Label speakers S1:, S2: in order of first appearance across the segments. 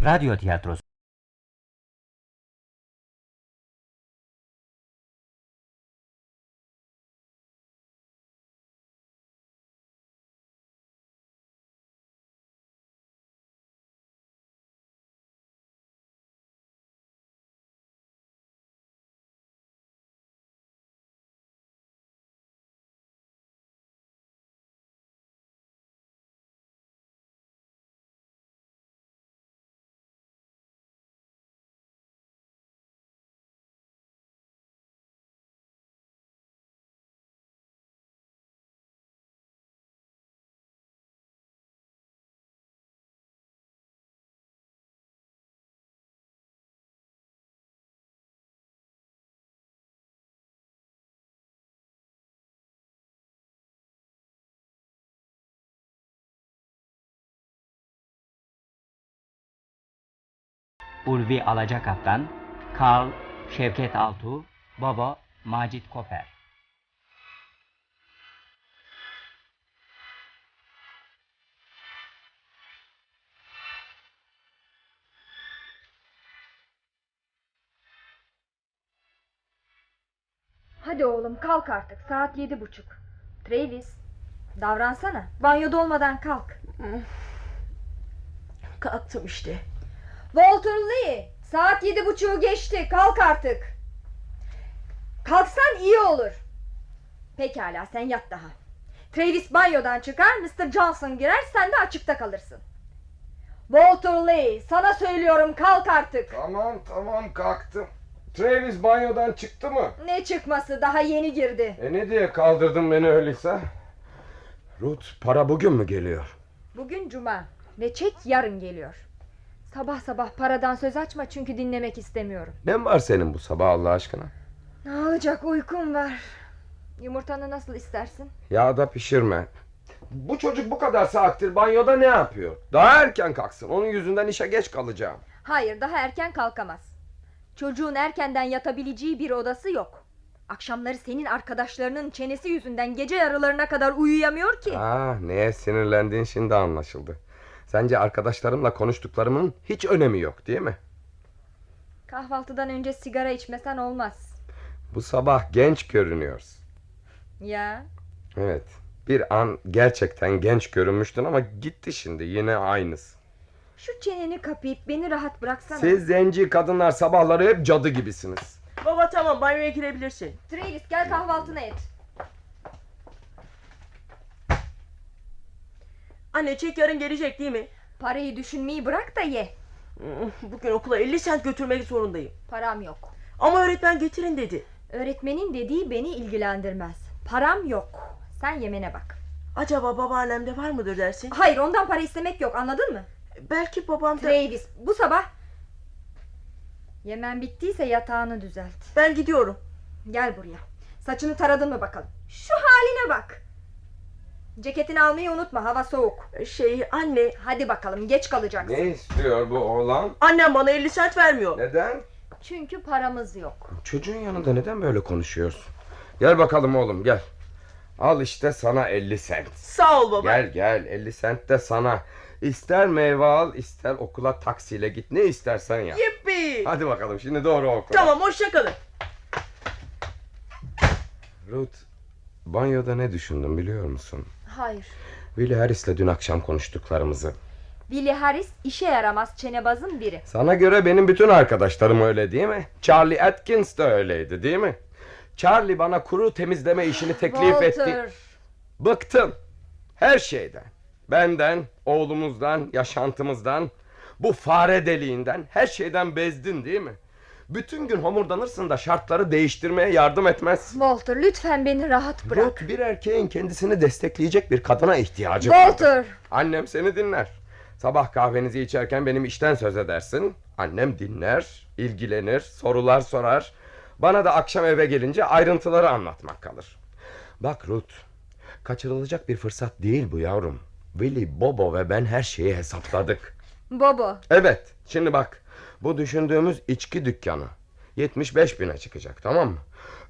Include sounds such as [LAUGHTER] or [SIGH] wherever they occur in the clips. S1: Radyo tiyatrosu. Ulvi Alaca Kaptan, Karl Şevket Altuğ, Baba Macit Koper.
S2: Hadi oğlum kalk artık saat yedi buçuk. Travis davransana banyoda olmadan kalk.
S3: [SIGHS] Kalktım işte.
S2: Walter Lee saat yedi buçuğu geçti kalk artık. Kalksan iyi olur. Pekala sen yat daha. Travis banyodan çıkar Mr. Johnson girer sen de açıkta kalırsın. Walter Lee sana söylüyorum kalk artık.
S4: Tamam tamam kalktım. Travis banyodan çıktı mı?
S2: Ne çıkması daha yeni girdi.
S4: E ne diye kaldırdın beni öyleyse? Ruth para bugün mü geliyor?
S2: Bugün cuma ve çek yarın geliyor. Sabah sabah paradan söz açma çünkü dinlemek istemiyorum.
S4: Ne var senin bu sabah Allah aşkına?
S2: Ne olacak uykum var. Yumurtanı nasıl istersin?
S4: Yağda pişirme. Bu çocuk bu kadar saattir banyoda ne yapıyor? Daha erken kalksın. Onun yüzünden işe geç kalacağım.
S2: Hayır daha erken kalkamaz. Çocuğun erkenden yatabileceği bir odası yok. Akşamları senin arkadaşlarının çenesi yüzünden gece yarılarına kadar uyuyamıyor ki.
S4: Ah neye sinirlendiğin şimdi anlaşıldı. Sence arkadaşlarımla konuştuklarımın hiç önemi yok değil mi?
S2: Kahvaltıdan önce sigara içmesen olmaz.
S4: Bu sabah genç görünüyorsun.
S2: Ya
S4: Evet. Bir an gerçekten genç görünmüştün ama gitti şimdi yine aynısı.
S2: şu çeneni kapayıp beni rahat bıraksana.
S4: Siz zenci kadınlar sabahları hep cadı gibisiniz.
S3: Baba tamam banyoya girebilirsin.
S2: Travis gel kahvaltına et.
S3: Anne çek yarın gelecek değil
S5: [LAUGHS]
S3: mi?
S2: Parayı düşünmeyi bırak da ye.
S3: Bugün okula 50 sent götürmek zorundayım.
S2: Param yok.
S3: Ama öğretmen getirin dedi.
S2: Öğretmenin dediği beni ilgilendirmez. Param yok. Sen yemene bak.
S3: Acaba babaannemde var mıdır dersin?
S2: Hayır ondan para istemek yok anladın mı?
S3: Belki babam da...
S2: Travis bu sabah... Yemen bittiyse yatağını düzelt.
S3: Ben gidiyorum.
S2: Gel buraya. Saçını taradın mı bakalım? Şu haline bak. Ceketini almayı unutma hava soğuk.
S3: Şey anne...
S2: Hadi bakalım geç kalacaksın.
S4: Ne istiyor bu oğlan?
S3: Annem bana 50 sent vermiyor.
S4: Neden?
S2: Çünkü paramız yok.
S4: Çocuğun yanında neden böyle konuşuyorsun? Gel bakalım oğlum gel. Al işte sana 50 sent.
S3: Sağ ol baba.
S4: Gel gel 50 sent de sana. İster meyve al ister okula taksiyle git ne istersen yap.
S3: Yippi.
S4: Hadi bakalım şimdi doğru okula.
S3: Tamam hoşça kalın.
S4: Ruth banyoda ne düşündüm biliyor musun?
S2: Hayır.
S4: Willie Harris'le dün akşam konuştuklarımızı.
S2: Billy Harris işe yaramaz çenebazın biri.
S4: Sana göre benim bütün arkadaşlarım öyle değil mi? Charlie Atkins de öyleydi değil mi? Charlie bana kuru temizleme işini teklif etti.
S2: Walter.
S4: Bıktım. Her şeyden. Benden, oğlumuzdan, yaşantımızdan, bu fare deliğinden, her şeyden bezdin değil mi? Bütün gün homurdanırsın da şartları değiştirmeye yardım etmez.
S2: Walter lütfen beni rahat bırak.
S4: Ruth bir erkeğin kendisini destekleyecek bir kadına ihtiyacı vardır.
S2: Walter.
S4: Annem seni dinler. Sabah kahvenizi içerken benim işten söz edersin. Annem dinler, ilgilenir, sorular sorar. Bana da akşam eve gelince ayrıntıları anlatmak kalır. Bak Ruth, kaçırılacak bir fırsat değil bu yavrum. Willy, Bobo ve ben her şeyi hesapladık.
S2: Bobo.
S4: Evet, şimdi bak. Bu düşündüğümüz içki dükkanı. 75 bine çıkacak, tamam mı?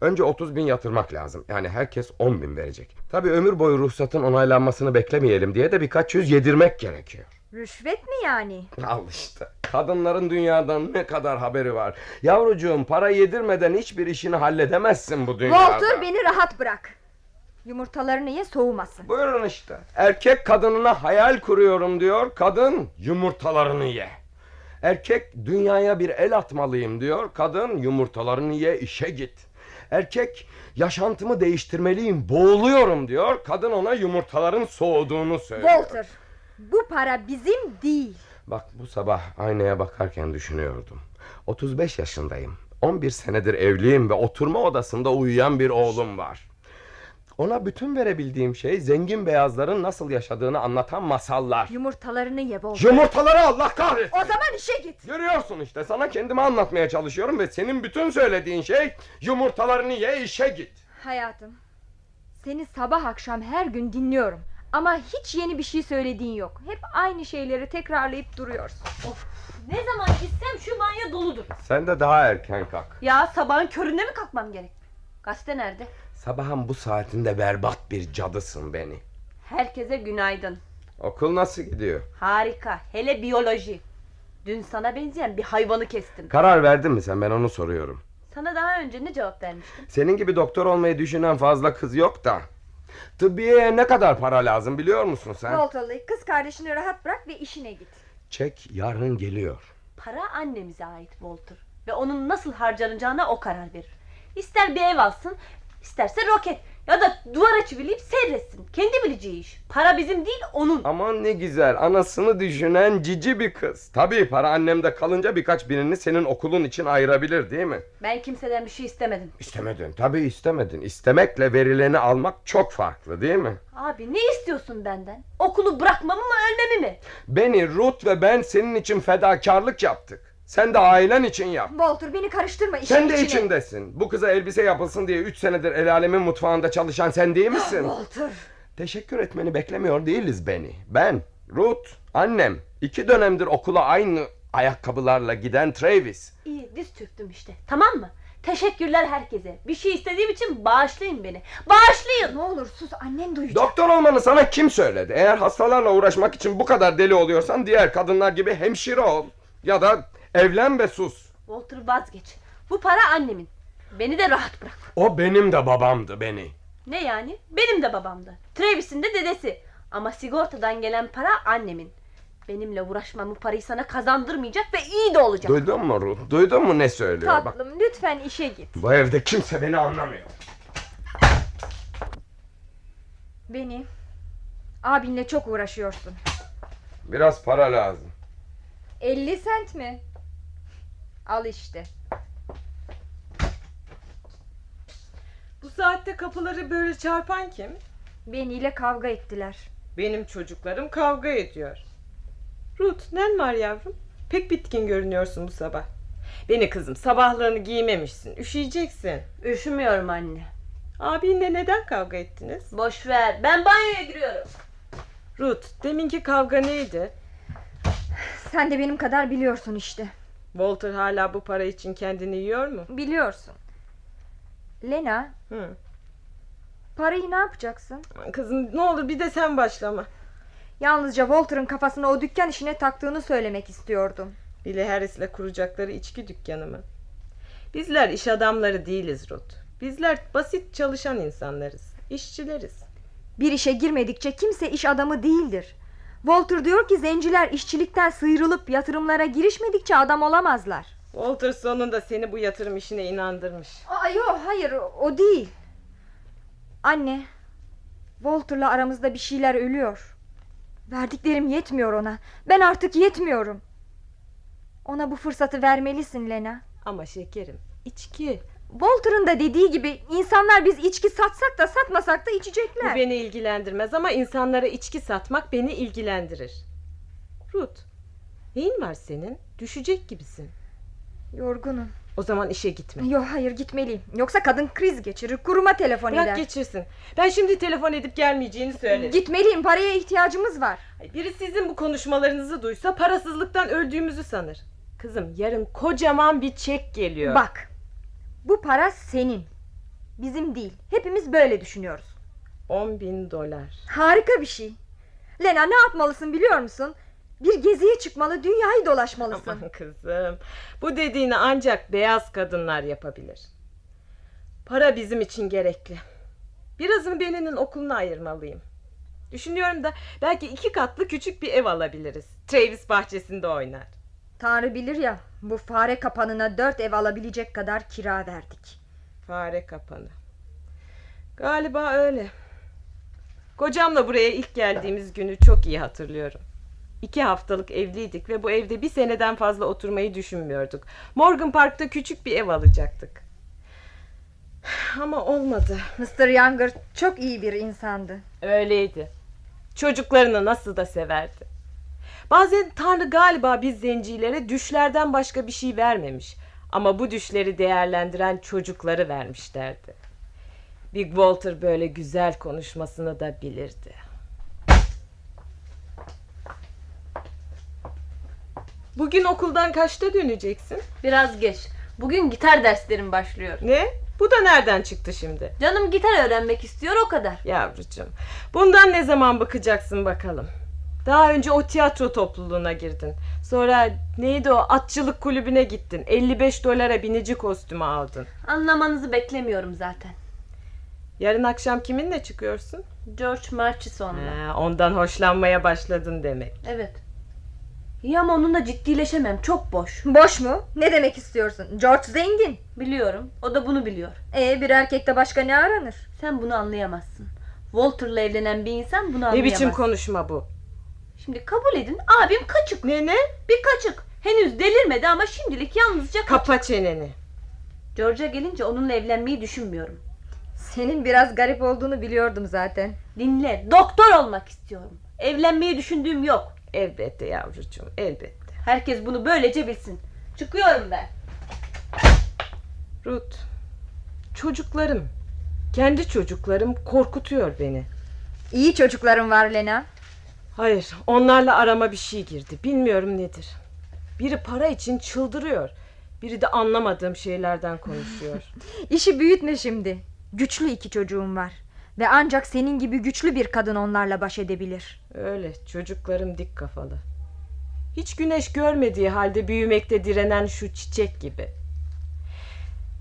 S4: Önce 30 bin yatırmak lazım. Yani herkes 10 bin verecek. Tabii ömür boyu ruhsatın onaylanmasını beklemeyelim diye de birkaç yüz yedirmek gerekiyor.
S2: Rüşvet mi yani?
S4: Al işte. Kadınların dünyadan ne kadar haberi var. Yavrucuğum para yedirmeden hiçbir işini halledemezsin bu dünyada.
S2: Walter beni rahat bırak. Yumurtalarını ye soğumasın.
S4: Buyurun işte. Erkek kadınına hayal kuruyorum diyor. Kadın yumurtalarını ye. Erkek dünyaya bir el atmalıyım diyor. Kadın yumurtalarını ye işe git. Erkek yaşantımı değiştirmeliyim boğuluyorum diyor. Kadın ona yumurtaların soğuduğunu söylüyor.
S2: Walter bu para bizim değil.
S4: Bak bu sabah aynaya bakarken düşünüyordum. 35 yaşındayım. 11 senedir evliyim ve oturma odasında uyuyan bir oğlum var. Ona bütün verebildiğim şey zengin beyazların nasıl yaşadığını anlatan masallar.
S2: Yumurtalarını ye Walter.
S4: Yumurtaları Allah kahretsin.
S2: O zaman işe git.
S4: Görüyorsun işte sana kendimi anlatmaya çalışıyorum ve senin bütün söylediğin şey yumurtalarını ye işe git.
S2: Hayatım, seni sabah akşam her gün dinliyorum. Ama hiç yeni bir şey söylediğin yok. Hep aynı şeyleri tekrarlayıp duruyorsun.
S6: Ne zaman gitsem şu banyo doludur.
S4: Sen de daha erken kalk.
S6: Ya sabahın köründe mi kalkmam gerek? Gazete nerede?
S4: Sabahın bu saatinde berbat bir cadısın beni.
S6: Herkese günaydın.
S4: Okul nasıl gidiyor?
S6: Harika. Hele biyoloji. Dün sana benzeyen bir hayvanı kestim.
S4: Karar verdin mi sen ben onu soruyorum.
S6: Sana daha önce ne cevap vermiştim?
S4: Senin gibi doktor olmayı düşünen fazla kız yok da. Tıbbiyeye ne kadar para lazım biliyor musun sen?
S2: Walter Lee, kız kardeşini rahat bırak ve işine git.
S4: Çek yarın geliyor.
S6: Para annemize ait Walter. Ve onun nasıl harcanacağına o karar verir. İster bir ev alsın, isterse roket. Ya da duvar açıveleyip seyretsin. Kendi bileceği iş. Para bizim değil onun.
S4: Aman ne güzel anasını düşünen cici bir kız. Tabii para annemde kalınca birkaç birini senin okulun için ayırabilir değil mi?
S6: Ben kimseden bir şey istemedim.
S4: İstemedin tabii istemedin. İstemekle verileni almak çok farklı değil mi?
S6: Abi ne istiyorsun benden? Okulu bırakmamı mı ölmemi mi?
S4: Beni Ruth ve ben senin için fedakarlık yaptık. Sen de ailen için yap.
S2: Walter beni karıştırma işin
S4: Sen de
S2: içine.
S4: içindesin. Bu kıza elbise yapılsın diye 3 senedir el alemin mutfağında çalışan sen değil misin?
S2: Ah, Walter.
S4: Teşekkür etmeni beklemiyor değiliz beni. Ben, Ruth, annem. iki dönemdir okula aynı ayakkabılarla giden Travis.
S6: İyi diz çöktüm işte tamam mı? Teşekkürler herkese. Bir şey istediğim için bağışlayın beni. Bağışlayın.
S2: Ne olur sus annen duyacak.
S4: Doktor olmanı sana kim söyledi? Eğer hastalarla uğraşmak için bu kadar deli oluyorsan diğer kadınlar gibi hemşire ol. Ya da evlen ve sus.
S6: Walter vazgeç. Bu para annemin. Beni de rahat bırak.
S4: O benim de babamdı beni.
S6: Ne yani? Benim de babamdı. Travis'in de dedesi. Ama sigortadan gelen para annemin. Benimle uğraşmam bu parayı sana kazandırmayacak ve iyi de olacak.
S4: Duydun mu Ruth? Duydun mu ne söylüyor? Bak
S2: Tatlım lütfen işe git.
S4: bu evde kimse beni anlamıyor.
S2: Beni abinle çok uğraşıyorsun.
S4: Biraz para lazım.
S2: 50 sent mi? Al işte.
S3: Bu saatte kapıları böyle çarpan kim?
S2: Beni ile kavga ettiler.
S7: Benim çocuklarım kavga ediyor. Ruth, nen var yavrum? Pek bitkin görünüyorsun bu sabah. Beni kızım, sabahlarını giymemişsin, üşüyeceksin.
S6: Üşümüyorum anne.
S7: Abinle neden kavga ettiniz?
S6: Boş ver. Ben banyoya giriyorum.
S7: Ruth, deminki kavga neydi?
S2: Sen de benim kadar biliyorsun işte.
S7: Walter hala bu para için kendini yiyor mu?
S2: Biliyorsun. Lena
S7: Hı.
S2: parayı ne yapacaksın?
S7: Kızım ne olur bir de sen başlama.
S2: Yalnızca Walter'ın kafasına o dükkan işine taktığını söylemek istiyordum.
S7: Billy Harris'le kuracakları içki dükkanı mı? Bizler iş adamları değiliz Ruth. Bizler basit çalışan insanlarız. İşçileriz.
S2: Bir işe girmedikçe kimse iş adamı değildir. Walter diyor ki zenciler işçilikten sıyrılıp yatırımlara girişmedikçe adam olamazlar.
S7: Walter sonunda seni bu yatırım işine inandırmış.
S2: Aa, yok hayır o değil. Anne, Walter'la aramızda bir şeyler ölüyor. Verdiklerim yetmiyor ona. Ben artık yetmiyorum. Ona bu fırsatı vermelisin Lena.
S7: Ama şekerim, içki.
S2: Walter'ın da dediği gibi insanlar biz içki satsak da satmasak da
S7: Bu
S2: içecekler.
S7: beni ilgilendirmez ama insanlara içki satmak beni ilgilendirir. Ruth, neyin var senin? Düşecek gibisin.
S2: Yorgunum.
S7: O zaman işe gitme.
S2: Yok hayır gitmeliyim. Yoksa kadın kriz geçirir. Kuruma telefon
S7: Bırak
S2: eder.
S7: geçirsin. Ben şimdi telefon edip gelmeyeceğini söylerim.
S2: Gitmeliyim. Paraya ihtiyacımız var.
S7: Ay, Biri sizin bu konuşmalarınızı duysa parasızlıktan öldüğümüzü sanır. Kızım yarın kocaman bir çek geliyor.
S2: Bak. Bu para senin. Bizim değil. Hepimiz böyle düşünüyoruz.
S7: 10 bin dolar.
S2: Harika bir şey. Lena ne yapmalısın biliyor musun? Bir geziye çıkmalı, dünyayı dolaşmalısın.
S7: Aman kızım. Bu dediğini ancak beyaz kadınlar yapabilir. Para bizim için gerekli. Birazını Beni'nin okuluna ayırmalıyım. Düşünüyorum da belki iki katlı küçük bir ev alabiliriz. Travis bahçesinde oynar.
S2: Tanrı bilir ya, bu fare kapanına dört ev alabilecek kadar kira verdik.
S7: Fare kapanı. Galiba öyle. Kocamla buraya ilk geldiğimiz günü çok iyi hatırlıyorum. İki haftalık evliydik ve bu evde bir seneden fazla oturmayı düşünmüyorduk. Morgan Park'ta küçük bir ev alacaktık. Ama olmadı.
S2: Mr. Younger çok iyi bir insandı.
S7: Öyleydi. Çocuklarını nasıl da severdi. Bazen Tanrı galiba biz zencilere düşlerden başka bir şey vermemiş. Ama bu düşleri değerlendiren çocukları vermiş derdi. Big Walter böyle güzel konuşmasını da bilirdi. Bugün okuldan kaçta döneceksin?
S6: Biraz geç. Bugün gitar derslerim başlıyor.
S7: Ne? Bu da nereden çıktı şimdi?
S6: Canım gitar öğrenmek istiyor o kadar.
S7: Yavrucuğum, bundan ne zaman bakacaksın bakalım. Daha önce o tiyatro topluluğuna girdin. Sonra neydi o atçılık kulübüne gittin. 55 dolara binici kostümü aldın.
S6: Anlamanızı beklemiyorum zaten.
S7: Yarın akşam kiminle çıkıyorsun?
S6: George Marchison'la.
S7: Ha, ondan hoşlanmaya başladın demek.
S6: Evet. İyi ama onunla ciddileşemem. Çok boş.
S2: Boş mu? Ne demek istiyorsun? George zengin.
S6: Biliyorum. O da bunu biliyor.
S2: E bir erkekte başka ne aranır?
S6: Sen bunu anlayamazsın. Walter'la evlenen bir insan bunu
S7: Ne
S6: anlayamaz.
S7: biçim konuşma bu?
S6: Şimdi kabul edin abim kaçık.
S7: Ne ne?
S6: Bir kaçık. Henüz delirmedi ama şimdilik yalnızca kaçık.
S7: Kapa çeneni.
S6: George'a gelince onunla evlenmeyi düşünmüyorum.
S2: Senin biraz garip olduğunu biliyordum zaten.
S6: Dinle. Doktor olmak istiyorum. Evlenmeyi düşündüğüm yok.
S7: Elbette yavrucuğum, elbette.
S6: Herkes bunu böylece bilsin. Çıkıyorum ben.
S7: Ruth, çocuklarım, kendi çocuklarım korkutuyor beni.
S2: İyi çocukların var Lena.
S7: Hayır, onlarla arama bir şey girdi. Bilmiyorum nedir. Biri para için çıldırıyor. Biri de anlamadığım şeylerden konuşuyor.
S2: [LAUGHS] İşi büyütme şimdi. Güçlü iki çocuğum var. Ve ancak senin gibi güçlü bir kadın onlarla baş edebilir.
S7: Öyle, çocuklarım dik kafalı. Hiç güneş görmediği halde büyümekte direnen şu çiçek gibi.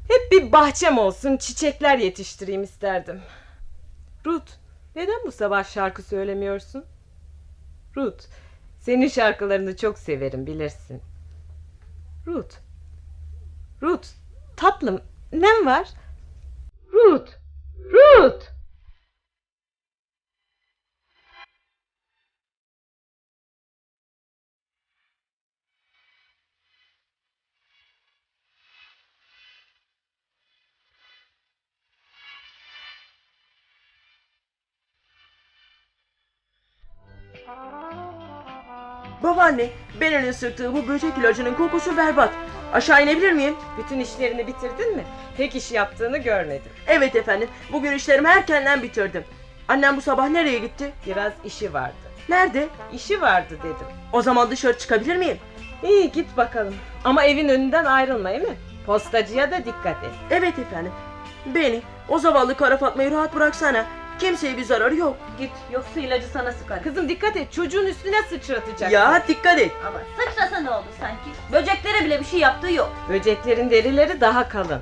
S7: Hep bir bahçem olsun, çiçekler yetiştireyim isterdim. Ruth, neden bu sabah şarkı söylemiyorsun? Ruth, senin şarkılarını çok severim bilirsin. Ruth, Ruth, tatlım, nem var? Ruth, Ruth!
S5: Babaanne, Benel'in sırtığı bu böcek ilacının kokusu berbat. Aşağı inebilir miyim?
S7: Bütün işlerini bitirdin mi? Tek iş yaptığını görmedim.
S5: Evet efendim, bugün işlerimi erkenden bitirdim. Annem bu sabah nereye gitti?
S7: Biraz işi vardı.
S5: Nerede?
S7: İşi vardı dedim.
S5: O zaman dışarı çıkabilir miyim?
S7: İyi git bakalım. Ama evin önünden ayrılma değil mi? Postacıya da dikkat et.
S5: Evet efendim. Beni, o zavallı kara Fatma'yı rahat bıraksana. Kimseye bir zararı yok.
S6: Git yoksa ilacı sana sıkarım.
S7: Kızım dikkat et çocuğun üstüne sıçratacak.
S5: Ya dikkat et.
S6: Ama sıçrasa ne oldu sanki? Böceklere bile bir şey yaptığı yok.
S7: Böceklerin derileri daha kalın.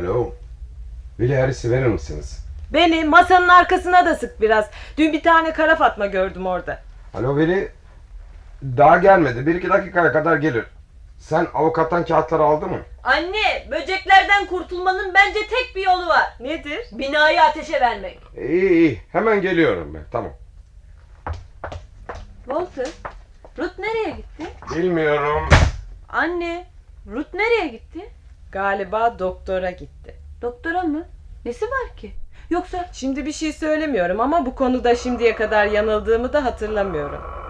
S4: Alo. Willie Harris'i verir misiniz?
S7: Beni masanın arkasına da sık biraz. Dün bir tane kara fatma gördüm orada.
S4: Alo Willie. Daha gelmedi. Bir iki dakikaya kadar gelir. Sen avukattan kağıtları aldın mı?
S6: Anne böceklerden kurtulmanın bence tek bir yolu var.
S7: Nedir?
S6: Binayı ateşe vermek.
S4: İyi iyi. Hemen geliyorum ben. Tamam.
S6: Walter, Ruth nereye gitti?
S4: Bilmiyorum.
S6: Anne, Ruth nereye gitti?
S7: Galiba doktora gitti.
S6: Doktora mı? Nesi var ki? Yoksa
S7: Şimdi bir şey söylemiyorum ama bu konuda şimdiye kadar yanıldığımı da hatırlamıyorum.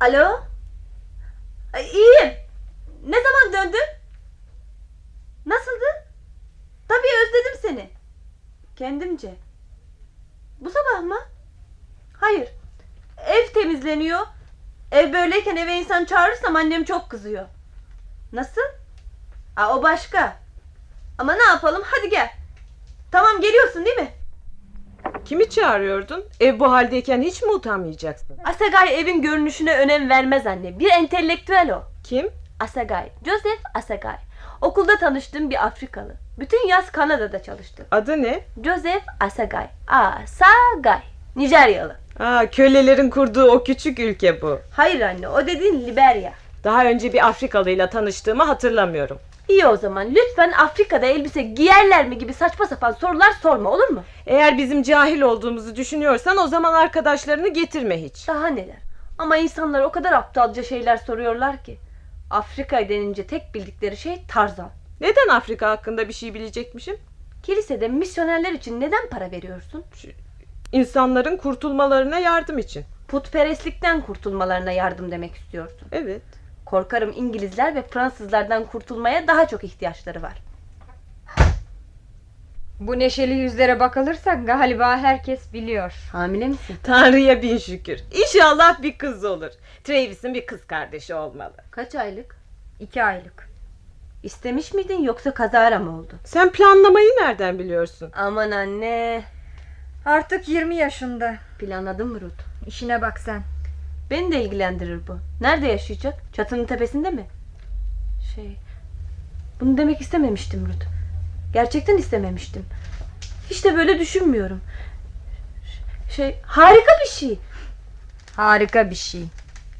S6: Alo? Ay, iyiyim. Ne zaman döndün? Nasıldı? Tabii özledim seni. Kendimce. Bu sabah mı? Hayır. Ev temizleniyor. Ev böyleyken eve insan çağırırsam annem çok kızıyor. Nasıl? Aa, o başka. Ama ne yapalım hadi gel. Tamam geliyorsun değil mi?
S7: Kimi çağırıyordun? Ev bu haldeyken hiç mi utanmayacaksın?
S6: Asagay evin görünüşüne önem vermez anne. Bir entelektüel o.
S7: Kim?
S6: Asagay. Joseph Asagay. Okulda tanıştığım bir Afrikalı. Bütün yaz Kanada'da çalıştı.
S7: Adı ne?
S6: Joseph Asagay. Asagay. Nijeryalı.
S7: Aa, kölelerin kurduğu o küçük ülke bu.
S6: Hayır anne o dediğin Liberya.
S7: Daha önce bir Afrikalıyla tanıştığımı hatırlamıyorum.
S6: İyi o zaman lütfen Afrika'da elbise giyerler mi gibi saçma sapan sorular sorma olur mu?
S7: Eğer bizim cahil olduğumuzu düşünüyorsan o zaman arkadaşlarını getirme hiç.
S6: Daha neler. Ama insanlar o kadar aptalca şeyler soruyorlar ki. Afrika denince tek bildikleri şey Tarzan.
S7: Neden Afrika hakkında bir şey bilecekmişim?
S6: Kilisede misyonerler için neden para veriyorsun?
S7: İnsanların kurtulmalarına yardım için.
S6: Putperestlikten kurtulmalarına yardım demek istiyorsun.
S7: Evet.
S6: Korkarım İngilizler ve Fransızlardan kurtulmaya daha çok ihtiyaçları var.
S2: Bu neşeli yüzlere bakılırsa galiba herkes biliyor.
S6: Hamile misin?
S7: Tanrı'ya bin şükür. İnşallah bir kız olur. Travis'in bir kız kardeşi olmalı.
S6: Kaç aylık?
S2: İki aylık.
S6: İstemiş miydin yoksa kazara mı oldu?
S7: Sen planlamayı nereden biliyorsun?
S6: Aman anne.
S2: Artık 20 yaşında.
S6: Planladın mı Ruth?
S2: İşine bak sen.
S6: Beni de ilgilendirir bu. Nerede yaşayacak? Çatının tepesinde mi? Şey... Bunu demek istememiştim Ruth. Gerçekten istememiştim. Hiç de böyle düşünmüyorum. Ş- Şey, harika bir şey.
S2: Harika bir şey.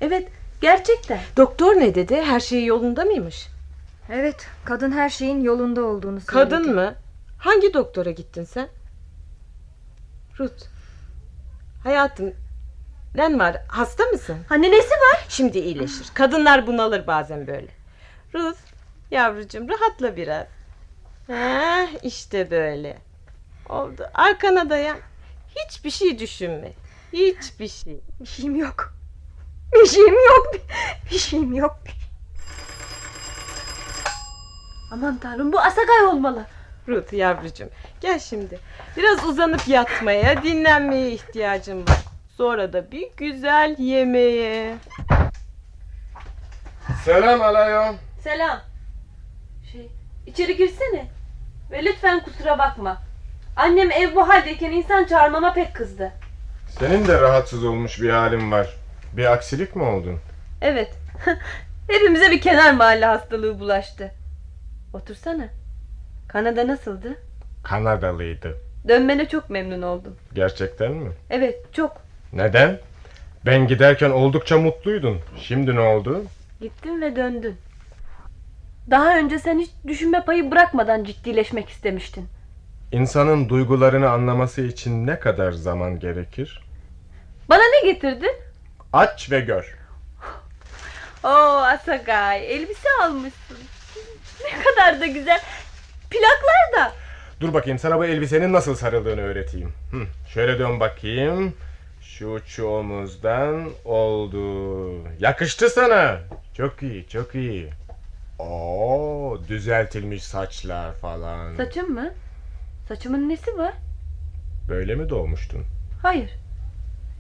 S6: Evet, gerçekten.
S7: Doktor ne dedi? Her şey yolunda mıymış?
S2: Evet, kadın her şeyin yolunda olduğunu söyledi.
S7: Kadın mı? Hangi doktora gittin sen? Ruth. Hayatım. var? hasta mısın?
S6: Hani nesi var?
S7: Şimdi iyileşir. Kadınlar bunalır bazen böyle. Ruth, yavrucuğum rahatla biraz. Ha, işte böyle. Oldu. Arkana dayan. Hiçbir şey düşünme. Hiçbir şey.
S2: Bir şeyim yok. Bir şeyim yok. Bir şeyim yok.
S6: Aman tanrım bu Asagay olmalı.
S7: Ruth yavrucuğum gel şimdi. Biraz uzanıp yatmaya, dinlenmeye ihtiyacım var. Sonra da bir güzel yemeğe.
S4: Selam alayon.
S6: Selam. Şey, içeri girsene. Ve lütfen kusura bakma. Annem ev bu haldeyken insan çağırmama pek kızdı.
S8: Senin de rahatsız olmuş bir halin var. Bir aksilik mi oldun?
S6: Evet. [LAUGHS] Hepimize bir kenar mahalle hastalığı bulaştı. Otursana. Kanada nasıldı?
S8: Kanadalıydı.
S6: Dönmene çok memnun oldum.
S8: Gerçekten mi?
S6: Evet, çok.
S8: Neden? Ben giderken oldukça mutluydun. Şimdi ne oldu?
S6: Gittin ve döndün. Daha önce sen hiç düşünme payı bırakmadan ciddileşmek istemiştin.
S8: İnsanın duygularını anlaması için ne kadar zaman gerekir?
S6: Bana ne getirdin?
S8: Aç ve gör.
S6: Oo Asagay, elbise almışsın. [LAUGHS] Ne kadar da güzel. Plaklar da.
S8: Dur bakayım sana bu elbisenin nasıl sarıldığını öğreteyim. Hı, şöyle dön bakayım. Şu şu omuzdan oldu. Yakıştı sana. Çok iyi, çok iyi. Oo, düzeltilmiş saçlar falan.
S6: Saçım mı? Saçımın nesi var?
S8: Böyle mi doğmuştun?
S6: Hayır.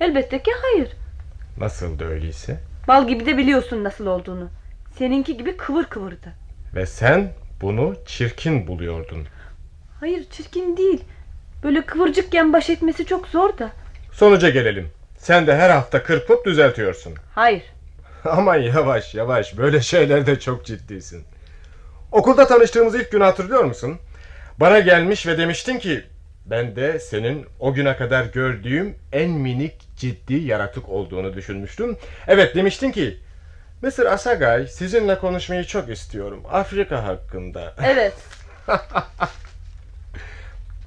S6: Elbette ki hayır.
S8: Nasıldı öyleyse?
S6: Bal gibi de biliyorsun nasıl olduğunu. Seninki gibi kıvır kıvırdı.
S8: Ve sen bunu çirkin buluyordun.
S6: Hayır çirkin değil. Böyle kıvırcıkken baş etmesi çok zor da.
S8: Sonuca gelelim. Sen de her hafta kırpıp düzeltiyorsun.
S6: Hayır.
S8: [LAUGHS] Aman yavaş yavaş böyle şeylerde çok ciddisin. Okulda tanıştığımız ilk günü hatırlıyor musun? Bana gelmiş ve demiştin ki ben de senin o güne kadar gördüğüm en minik ciddi yaratık olduğunu düşünmüştüm. Evet demiştin ki Mr. Asagay sizinle konuşmayı çok istiyorum Afrika hakkında. [LAUGHS]
S6: Evet.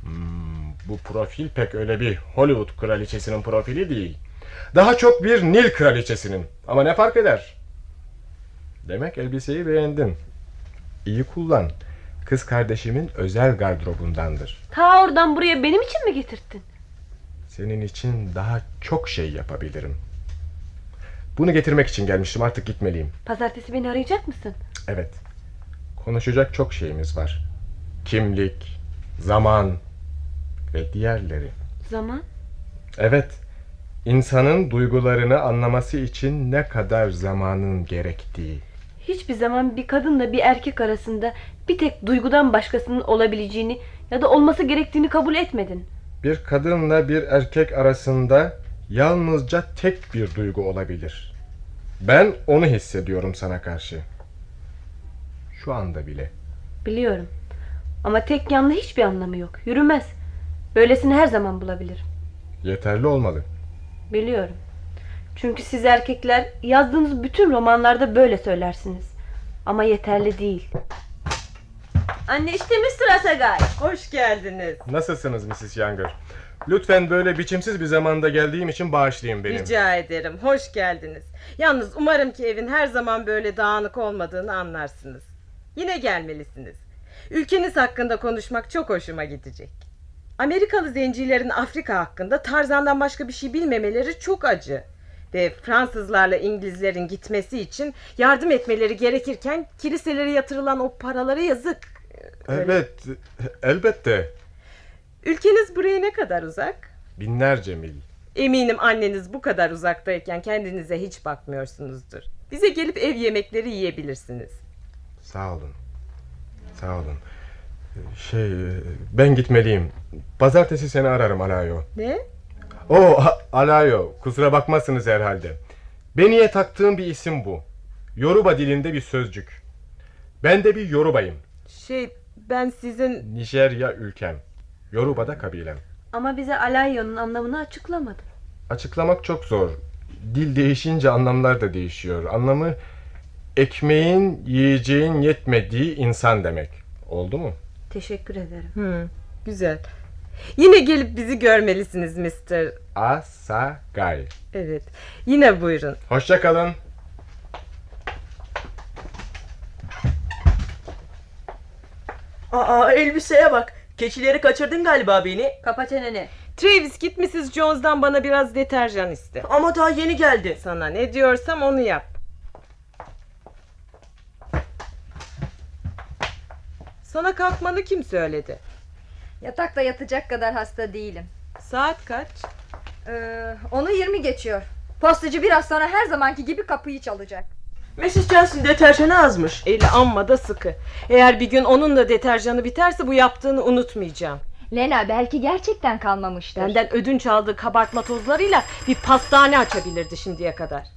S8: Hmm, Bu profil pek öyle bir Hollywood kraliçesinin profili değil. Daha çok bir Nil kraliçesinin. Ama ne fark eder? Demek elbiseyi beğendin. İyi kullan. Kız kardeşimin özel gardırobundandır.
S6: Ta oradan buraya benim için mi getirdin?
S8: Senin için daha çok şey yapabilirim. Bunu getirmek için gelmiştim artık gitmeliyim.
S6: Pazartesi beni arayacak mısın?
S8: Evet. Konuşacak çok şeyimiz var. Kimlik, zaman ve diğerleri.
S6: Zaman?
S8: Evet. İnsanın duygularını anlaması için ne kadar zamanın gerektiği.
S6: Hiçbir zaman bir kadınla bir erkek arasında bir tek duygudan başkasının olabileceğini ya da olması gerektiğini kabul etmedin.
S8: Bir kadınla bir erkek arasında yalnızca tek bir duygu olabilir. Ben onu hissediyorum sana karşı. Şu anda bile.
S6: Biliyorum. Ama tek yanlı hiçbir anlamı yok. Yürümez. Böylesini her zaman bulabilirim.
S8: Yeterli olmalı.
S6: Biliyorum. Çünkü siz erkekler yazdığınız bütün romanlarda böyle söylersiniz. Ama yeterli değil.
S3: Anne işte Mr. Asagay.
S7: Hoş geldiniz.
S8: Nasılsınız Mrs. Younger? Lütfen böyle biçimsiz bir zamanda geldiğim için bağışlayın beni.
S7: Rica ederim. Hoş geldiniz. Yalnız umarım ki evin her zaman böyle dağınık olmadığını anlarsınız. Yine gelmelisiniz. Ülkeniz hakkında konuşmak çok hoşuma gidecek. Amerikalı zencilerin Afrika hakkında Tarzan'dan başka bir şey bilmemeleri çok acı. Ve Fransızlarla İngilizlerin gitmesi için yardım etmeleri gerekirken kiliselere yatırılan o paralara yazık.
S8: Evet, elbette.
S7: Ülkeniz buraya ne kadar uzak?
S8: Binlerce mil.
S7: Eminim anneniz bu kadar uzaktayken kendinize hiç bakmıyorsunuzdur. Bize gelip ev yemekleri yiyebilirsiniz.
S8: Sağ olun. Sağ olun. Şey, ben gitmeliyim. Pazartesi seni ararım Alayo.
S7: Ne?
S8: Oo, A- Alayo, kusura bakmazsınız herhalde. Beniye taktığım bir isim bu. Yoruba dilinde bir sözcük. Ben de bir Yorubayım.
S7: Şey ben sizin
S8: Nijerya ülkem. Yoruba'da kabilem.
S6: Ama bize Alayyo'nun anlamını açıklamadın.
S8: Açıklamak çok zor. Dil değişince anlamlar da değişiyor. Anlamı ekmeğin, yiyeceğin yetmediği insan demek. Oldu mu?
S6: Teşekkür ederim.
S7: Hı, güzel. Yine gelip bizi görmelisiniz Mr.
S8: Asagay.
S7: Evet. Yine buyurun.
S8: Hoşça kalın.
S5: Aa elbiseye bak. Keçileri kaçırdın galiba beni.
S6: Kapa çeneni.
S7: Travis git Mrs. Jones'dan bana biraz deterjan iste.
S5: Ama daha yeni geldi.
S7: Sana ne diyorsam onu yap. Sana kalkmanı kim söyledi?
S2: Yatakta yatacak kadar hasta değilim.
S7: Saat kaç?
S2: Ee, onu 20 geçiyor. Postacı biraz sonra her zamanki gibi kapıyı çalacak.
S5: Mrs. Johnson deterjanı azmış.
S7: Eli amma da sıkı. Eğer bir gün onun da deterjanı biterse bu yaptığını unutmayacağım.
S2: Lena belki gerçekten kalmamıştır.
S7: Benden ödünç aldığı kabartma tozlarıyla bir pastane açabilirdi şimdiye kadar.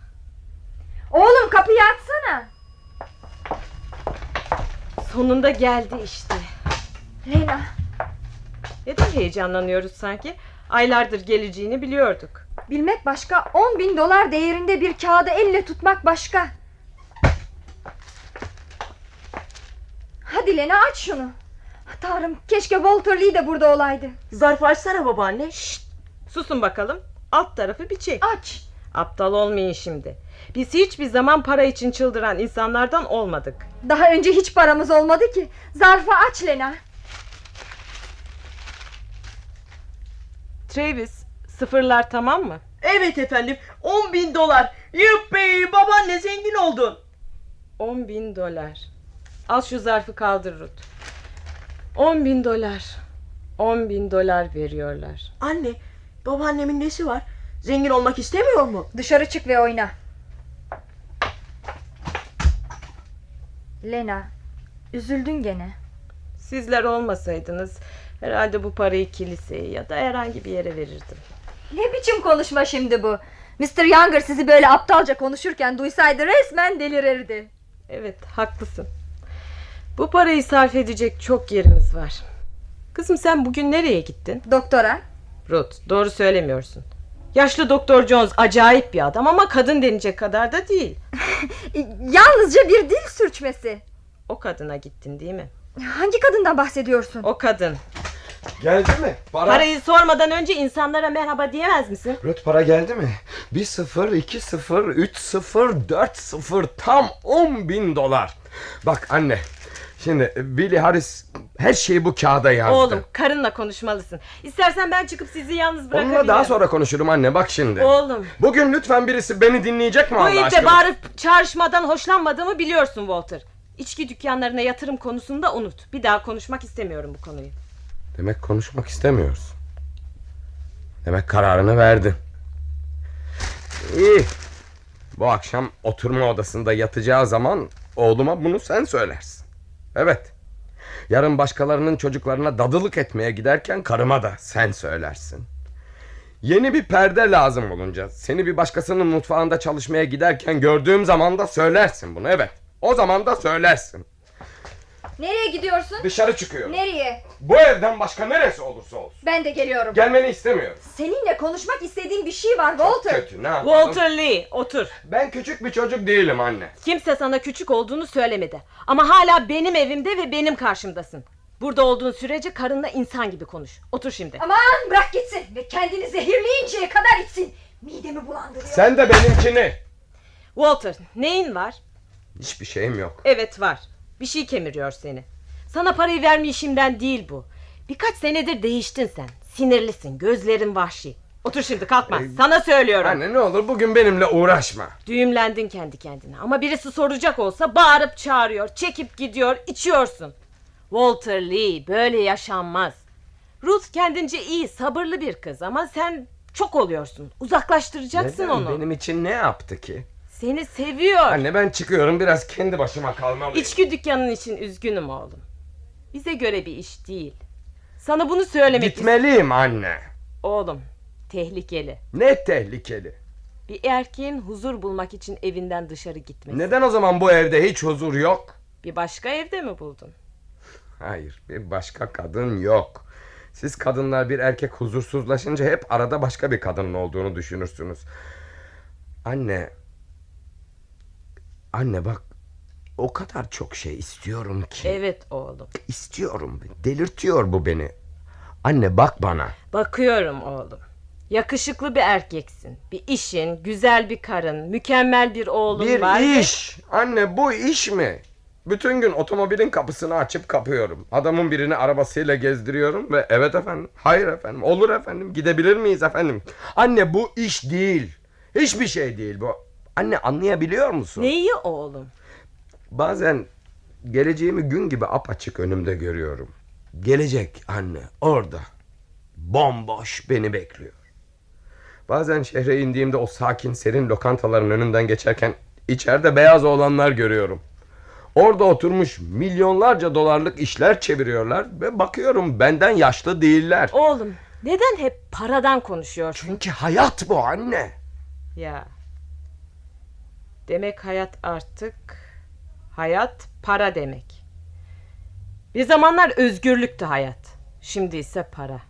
S2: Oğlum kapıyı açsana.
S7: Sonunda geldi işte.
S2: Lena
S7: Neden heyecanlanıyoruz sanki? Aylardır geleceğini biliyorduk.
S2: bilmek başka 10 bin dolar değerinde bir kağıdı elle tutmak başka. Hadi Lena aç şunu. Tanrım keşke Walter Lee de burada olaydı.
S5: Zarfı açsana babaanne.
S7: Susun bakalım. Alt tarafı bir çek.
S2: Aç.
S7: Aptal olmayın şimdi. Biz hiçbir zaman para için çıldıran insanlardan olmadık.
S2: Daha önce hiç paramız olmadı ki. Zarfı aç Lena.
S7: Travis, sıfırlar tamam mı?
S5: Evet efendim 10 bin dolar. Yuppie babaanne zengin oldun.
S7: 10 bin dolar. Al şu zarfı kaldır Ruth. 10 bin dolar. 10 bin dolar veriyorlar.
S5: Anne babaannemin nesi var? Zengin olmak istemiyor mu?
S2: Dışarı çık ve oyna. Lena, üzüldün gene.
S7: Sizler olmasaydınız herhalde bu parayı kiliseye ya da herhangi bir yere verirdim.
S2: Ne biçim konuşma şimdi bu? Mr. Younger sizi böyle aptalca konuşurken duysaydı resmen delirirdi.
S7: Evet, haklısın. Bu parayı sarf edecek çok yerimiz var. Kızım sen bugün nereye gittin?
S2: Doktora,
S7: Ruth doğru söylemiyorsun. Yaşlı Doktor Jones acayip bir adam ama kadın denecek kadar da değil.
S2: e, [LAUGHS] yalnızca bir dil sürçmesi.
S7: O kadına gittin değil mi?
S2: Hangi kadından bahsediyorsun?
S7: O kadın.
S9: Geldi mi? Para.
S7: Parayı sormadan önce insanlara merhaba diyemez misin?
S9: Rüt para geldi mi? 1 0 2 0 3 0 4 0 tam 10 bin dolar.
S4: Bak anne. Şimdi Billy Harris her şeyi bu kağıda yazdı.
S7: Oğlum karınla konuşmalısın. İstersen ben çıkıp sizi yalnız bırakabilirim.
S4: Onunla daha sonra konuşurum anne bak şimdi.
S7: Oğlum
S4: Bugün lütfen birisi beni dinleyecek mi
S7: bu
S4: Allah
S7: evde
S4: aşkına?
S7: bağırıp çağrışmadan hoşlanmadığımı biliyorsun Walter. İçki dükkanlarına yatırım konusunda unut. Bir daha konuşmak istemiyorum bu konuyu.
S4: Demek konuşmak istemiyoruz. Demek kararını verdi. İyi. Bu akşam oturma odasında yatacağı zaman oğluma bunu sen söylersin. Evet. Yarın başkalarının çocuklarına dadılık etmeye giderken karıma da sen söylersin. Yeni bir perde lazım olunca seni bir başkasının mutfağında çalışmaya giderken gördüğüm zaman da söylersin bunu evet. O zaman da söylersin.
S2: Nereye gidiyorsun?
S4: Dışarı çıkıyorum.
S2: Nereye?
S4: Bu evden başka neresi olursa olsun.
S2: Ben de geliyorum.
S4: Gelmeni istemiyorum.
S2: Seninle konuşmak istediğim bir şey var Walter.
S4: Kötü ne yapalım?
S7: Walter Lee otur.
S4: Ben küçük bir çocuk değilim anne.
S7: Kimse sana küçük olduğunu söylemedi. Ama hala benim evimde ve benim karşımdasın. Burada olduğun sürece karınla insan gibi konuş. Otur şimdi.
S2: Aman bırak gitsin ve kendini zehirleyinceye kadar içsin. Midemi bulandırıyor.
S4: Sen de benimkini.
S7: Walter neyin var?
S4: Hiçbir şeyim yok.
S7: Evet var. Bir şey kemiriyor seni. Sana parayı vermeyişimden değil bu. Birkaç senedir değiştin sen. Sinirlisin, gözlerin vahşi. Otur şimdi kalkma. Sana söylüyorum.
S4: Anne ne olur bugün benimle uğraşma.
S7: Düğümlendin kendi kendine. Ama birisi soracak olsa bağırıp çağırıyor, çekip gidiyor, içiyorsun. Walter Lee böyle yaşanmaz. Ruth kendince iyi, sabırlı bir kız ama sen çok oluyorsun. Uzaklaştıracaksın
S4: Neden?
S7: onu.
S4: Benim için ne yaptı ki?
S7: Seni seviyor.
S4: Anne ben çıkıyorum biraz kendi başıma kalmalıyım.
S7: İçki dükkanın için üzgünüm oğlum. Bize göre bir iş değil. Sana bunu söylemek ist-
S4: Gitmeliyim anne.
S7: Oğlum, tehlikeli.
S4: Ne tehlikeli.
S7: Bir erkeğin huzur bulmak için evinden dışarı gitmesi.
S4: Neden o zaman bu evde hiç huzur yok?
S7: Bir başka evde mi buldun?
S4: Hayır bir başka kadın yok. Siz kadınlar bir erkek huzursuzlaşınca hep arada başka bir kadının olduğunu düşünürsünüz. Anne. Anne bak o kadar çok şey istiyorum ki.
S7: Evet oğlum.
S4: İstiyorum. Delirtiyor bu beni. Anne bak bana.
S7: Bakıyorum oğlum. Yakışıklı bir erkeksin. Bir işin, güzel bir karın, mükemmel bir oğlun
S4: Bir
S7: var. ve-
S4: iş. Anne bu iş mi? Bütün gün otomobilin kapısını açıp kapıyorum. Adamın birini arabasıyla gezdiriyorum ve evet efendim, hayır efendim, olur efendim, gidebilir miyiz efendim? Anne bu iş değil. Hiçbir şey değil bu. Anne anlayabiliyor musun?
S7: Neyi oğlum?
S4: Bazen geleceğimi gün gibi apaçık önümde görüyorum. Gelecek anne orada. Bomboş beni bekliyor. Bazen şehre indiğimde o sakin serin lokantaların önünden geçerken içeride beyaz oğlanlar görüyorum. Orada oturmuş milyonlarca dolarlık işler çeviriyorlar ve bakıyorum benden yaşlı değiller.
S7: Oğlum, neden hep paradan konuşuyorsun?
S4: Çünkü hayat bu anne.
S7: Ya. Demek hayat artık hayat para demek. Bir zamanlar özgürlüktü hayat. Şimdi ise para.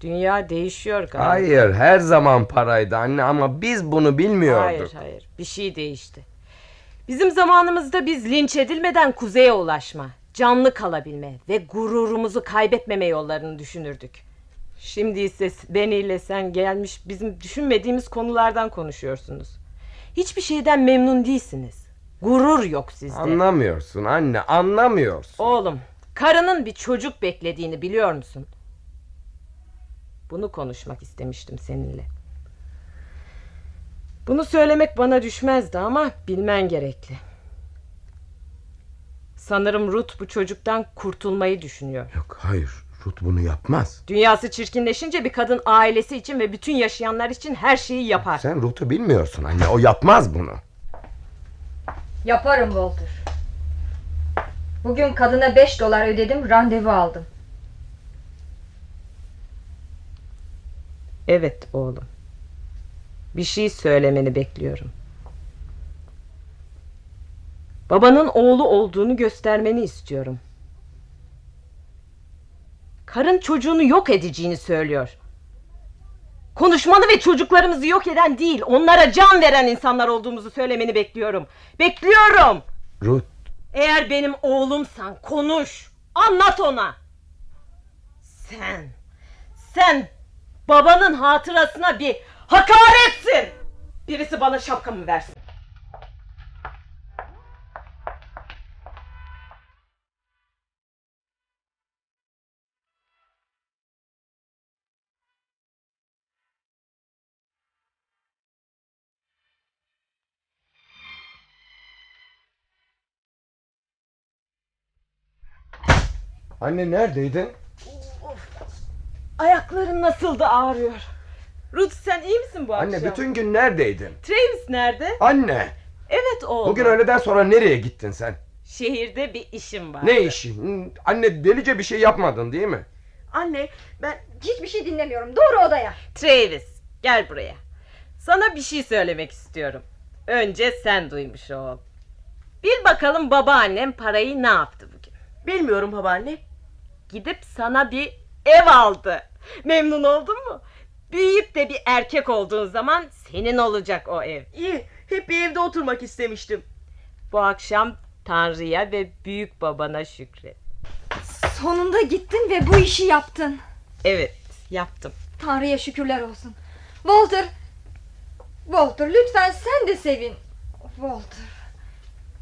S7: Dünya değişiyor galiba.
S4: Hayır her zaman paraydı anne ama biz bunu bilmiyorduk.
S7: Hayır hayır bir şey değişti. Bizim zamanımızda biz linç edilmeden kuzeye ulaşma, canlı kalabilme ve gururumuzu kaybetmeme yollarını düşünürdük. Şimdi ise ben ile sen gelmiş bizim düşünmediğimiz konulardan konuşuyorsunuz. Hiçbir şeyden memnun değilsiniz. Gurur yok sizde.
S4: Anlamıyorsun anne anlamıyorsun.
S7: Oğlum, karının bir çocuk beklediğini biliyor musun? Bunu konuşmak istemiştim seninle. Bunu söylemek bana düşmezdi ama bilmen gerekli. Sanırım Ruth bu çocuktan kurtulmayı düşünüyor.
S4: Yok hayır Ruth bunu yapmaz.
S7: Dünyası çirkinleşince bir kadın ailesi için ve bütün yaşayanlar için her şeyi yapar.
S4: Sen Ruth'u bilmiyorsun anne o yapmaz bunu.
S2: Yaparım Walter. Bugün kadına 5 dolar ödedim, randevu aldım.
S7: Evet oğlum. Bir şey söylemeni bekliyorum. Babanın oğlu olduğunu göstermeni istiyorum. Karın çocuğunu yok edeceğini söylüyor. Konuşmanı ve çocuklarımızı yok eden değil, onlara can veren insanlar olduğumuzu söylemeni bekliyorum. Bekliyorum.
S4: Ruth
S7: Eğer benim oğlumsan konuş. Anlat ona. Sen, sen babanın hatırasına bir hakaretsin. Birisi bana şapkamı versin.
S4: Anne neredeydin?
S7: Ayaklarım nasıl da ağrıyor. Ruth sen iyi misin bu
S4: Anne
S7: akşam?
S4: bütün gün neredeydin?
S7: Travis nerede?
S4: Anne
S7: Evet oğlum.
S4: bugün öğleden sonra nereye gittin sen?
S7: Şehirde bir işim var.
S4: Ne işi? Hı, Anne delice bir şey yapmadın değil mi?
S5: Anne ben
S2: Hiçbir şey dinlemiyorum. Doğru odaya.
S7: Travis gel buraya. Sana bir şey söylemek istiyorum. Önce sen duymuş ol. Bil bakalım babaannem parayı ne yaptı bugün.
S5: bilmiyorum babaanne.
S7: Gidip sana bir ev aldı. Memnun oldun mu? Büyüyüp de bir erkek olduğun zaman senin olacak o ev.
S5: İyi hep bir evde oturmak istemiştim.
S7: Bu akşam Tanrı'ya ve büyük babana şükret.
S2: Sonunda gittin ve bu işi yaptın.
S7: Evet yaptım.
S2: Tanrı'ya şükürler olsun. Walter. Walter lütfen sen de sevin. Walter.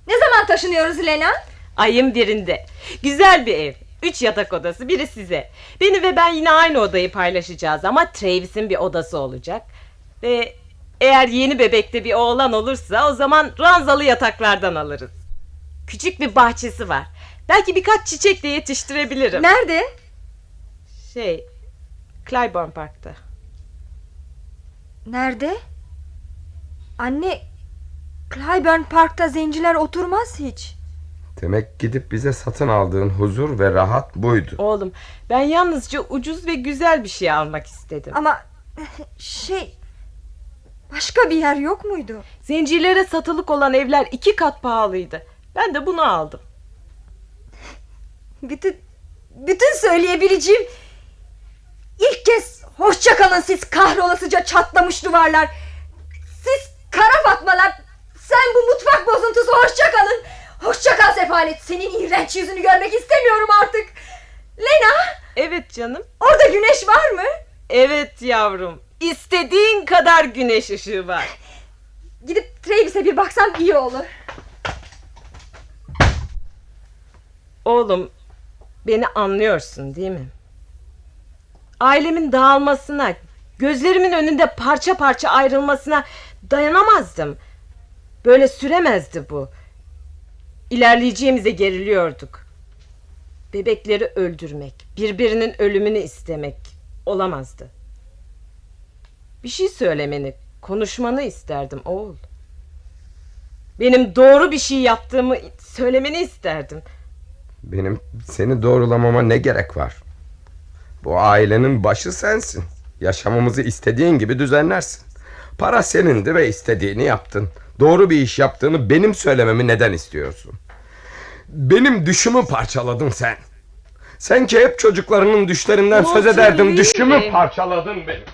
S2: Ne zaman taşınıyoruz Lena?
S7: Ayın birinde. Güzel bir ev. Üç yatak odası biri size. Beni ve ben yine aynı odayı paylaşacağız ama Travis'in bir odası olacak. Ve eğer yeni bebekte bir oğlan olursa o zaman ranzalı yataklardan alırız. Küçük bir bahçesi var. Belki birkaç çiçek de yetiştirebilirim.
S2: Nerede?
S7: Şey, Clybourne Park'ta.
S2: Nerede? Anne, Clyburn Park'ta zenciler oturmaz hiç.
S4: Demek gidip bize satın aldığın huzur ve rahat buydu.
S7: Oğlum, ben yalnızca ucuz ve güzel bir şey almak istedim.
S2: Ama şey, başka bir yer yok muydu?
S7: Zincirlere satılık olan evler iki kat pahalıydı. Ben de bunu aldım.
S2: Bütün bütün söyleyebileceğim ilk kez hoşça kalın siz kahrolasıca çatlamış duvarlar. Siz kara fatmalar. Sen bu mutfak bozuntusu hoşça kalın. Hoşça kal sefalet. Senin iğrenç yüzünü görmek istemiyorum artık. Lena,
S7: Evet canım.
S2: orada güneş var mı?
S7: Evet yavrum. İstediğin kadar güneş ışığı var.
S2: Gidip Travis'e bir baksam iyi olur.
S7: Oğlum beni anlıyorsun değil mi? Ailemin dağılmasına, gözlerimin önünde parça parça ayrılmasına dayanamazdım. Böyle süremezdi bu. İlerleyeceğimize geriliyorduk. Bebekleri öldürmek, birbirinin ölümünü istemek olamazdı. Bir şey söylemeni, konuşmanı isterdim oğul. Benim doğru bir şey yaptığımı söylemeni isterdim.
S4: Benim seni doğrulamama ne gerek var? Bu ailenin başı sensin. Yaşamımızı istediğin gibi düzenlersin. Para senindi ve istediğini yaptın. Doğru bir iş yaptığını benim söylememi neden istiyorsun? Benim düşümü parçaladın sen. Sen ki hep çocuklarının düşlerinden söz ederdin. Düşümü parçaladın benim.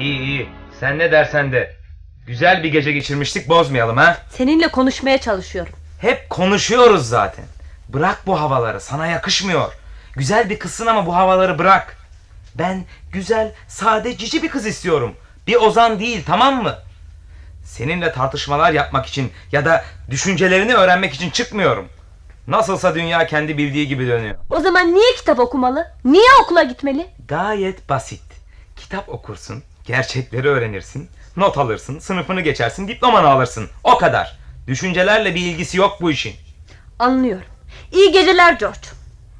S10: İyi iyi. Sen ne dersen de. Güzel bir gece geçirmiştik bozmayalım ha.
S6: Seninle konuşmaya çalışıyorum.
S10: Hep konuşuyoruz zaten. Bırak bu havaları sana yakışmıyor. Güzel bir kızsın ama bu havaları bırak. Ben güzel, sade, cici bir kız istiyorum. Bir Ozan değil tamam mı? Seninle tartışmalar yapmak için ya da düşüncelerini öğrenmek için çıkmıyorum. Nasılsa dünya kendi bildiği gibi dönüyor.
S6: O zaman niye kitap okumalı? Niye okula gitmeli?
S10: Gayet basit. Kitap okursun, gerçekleri öğrenirsin, not alırsın, sınıfını geçersin, diplomanı alırsın. O kadar. Düşüncelerle bir ilgisi yok bu işin.
S6: Anlıyorum. İyi geceler George.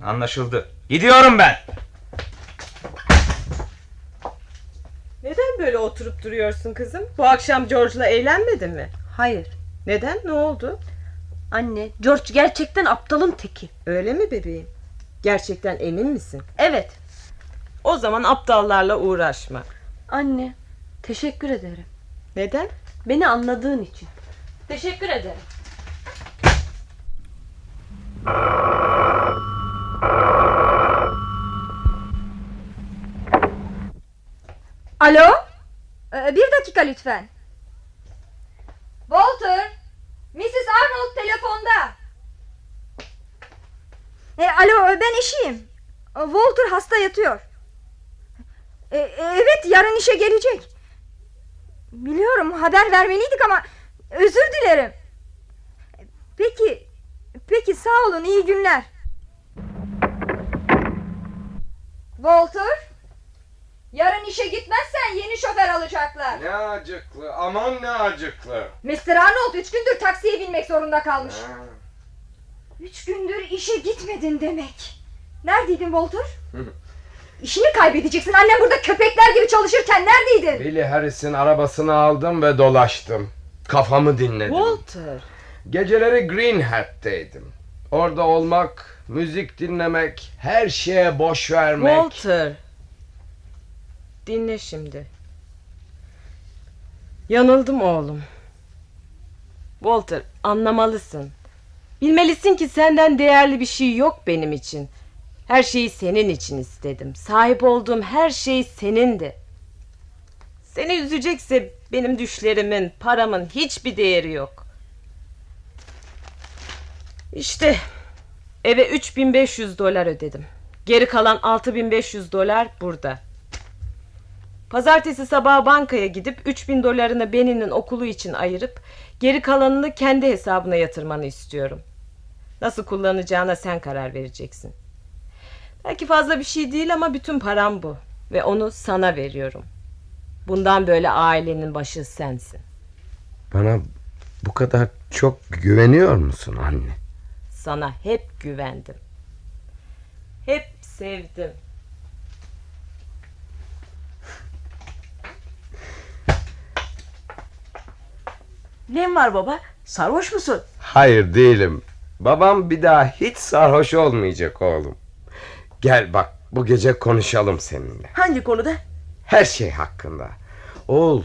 S10: Anlaşıldı. Gidiyorum ben.
S7: Neden böyle oturup duruyorsun kızım? Bu akşam George'la eğlenmedin mi?
S6: Hayır.
S7: Neden? Ne oldu?
S6: Anne, George gerçekten aptalın teki.
S7: Öyle mi bebeğim? Gerçekten emin misin?
S6: Evet.
S7: O zaman aptallarla uğraşma.
S6: Anne, teşekkür ederim.
S7: Neden?
S6: Beni anladığın için. Teşekkür ederim.
S2: Alo? Ee, bir dakika lütfen. Walter, Mrs. Arnold telefonda. E, alo, ben eşiyim. E, Walter hasta yatıyor. E, e, evet, yarın işe gelecek. Biliyorum, haber vermeliydik ama özür dilerim. E, Peki, peki sağ olun, iyi günler. Walter, kalacaklar.
S4: Ne acıklı aman ne acıklı.
S2: Mr. Arnold üç gündür taksiye binmek zorunda kalmış. Üç gündür işe gitmedin demek. Neredeydin Walter? İşini kaybedeceksin. Annem burada köpekler gibi çalışırken neredeydin?
S4: Billy Harris'in arabasını aldım ve dolaştım. Kafamı dinledim.
S7: Walter.
S4: Geceleri Green Hat'teydim. Orada olmak, müzik dinlemek, her şeye boş vermek.
S7: Walter. Dinle şimdi. Yanıldım oğlum. Walter anlamalısın. Bilmelisin ki senden değerli bir şey yok benim için. Her şeyi senin için istedim. Sahip olduğum her şey senindi. Seni üzecekse benim düşlerimin, paramın hiçbir değeri yok. İşte eve 3500 dolar ödedim. Geri kalan 6500 dolar burada. Pazartesi sabahı bankaya gidip 3000 dolarını Benny'nin okulu için ayırıp geri kalanını kendi hesabına yatırmanı istiyorum. Nasıl kullanacağına sen karar vereceksin. Belki fazla bir şey değil ama bütün param bu ve onu sana veriyorum. Bundan böyle ailenin başı sensin.
S4: Bana bu kadar çok güveniyor musun anne?
S7: Sana hep güvendim. Hep sevdim.
S5: Ne var baba? Sarhoş musun?
S4: Hayır değilim. Babam bir daha hiç sarhoş olmayacak oğlum. Gel bak bu gece konuşalım seninle.
S5: Hangi konuda?
S4: Her şey hakkında. Oğul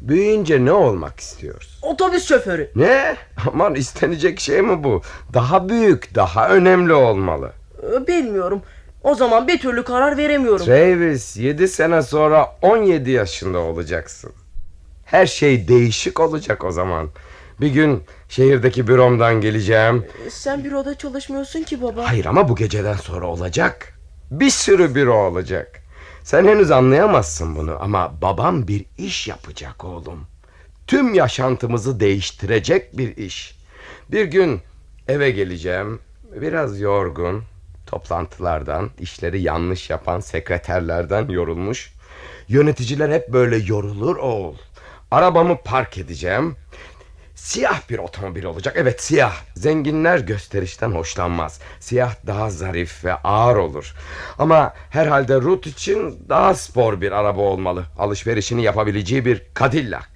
S4: büyüyünce ne olmak istiyorsun?
S5: Otobüs şoförü.
S4: Ne? [LAUGHS] Aman istenecek şey mi bu? Daha büyük, daha önemli olmalı.
S5: Ee, Bilmiyorum. O zaman bir türlü karar veremiyorum.
S4: Şey- Travis 7 sene sonra 17 yaşında olacaksın. Her şey değişik olacak o zaman. Bir gün şehirdeki büromdan geleceğim.
S5: Sen büroda çalışmıyorsun ki baba.
S4: Hayır ama bu geceden sonra olacak. Bir sürü büro olacak. Sen henüz anlayamazsın bunu ama babam bir iş yapacak oğlum. Tüm yaşantımızı değiştirecek bir iş. Bir gün eve geleceğim. Biraz yorgun, toplantılardan, işleri yanlış yapan sekreterlerden yorulmuş. Yöneticiler hep böyle yorulur oğul. Arabamı park edeceğim. Siyah bir otomobil olacak. Evet siyah. Zenginler gösterişten hoşlanmaz. Siyah daha zarif ve ağır olur. Ama herhalde Ruth için daha spor bir araba olmalı. Alışverişini yapabileceği bir Cadillac.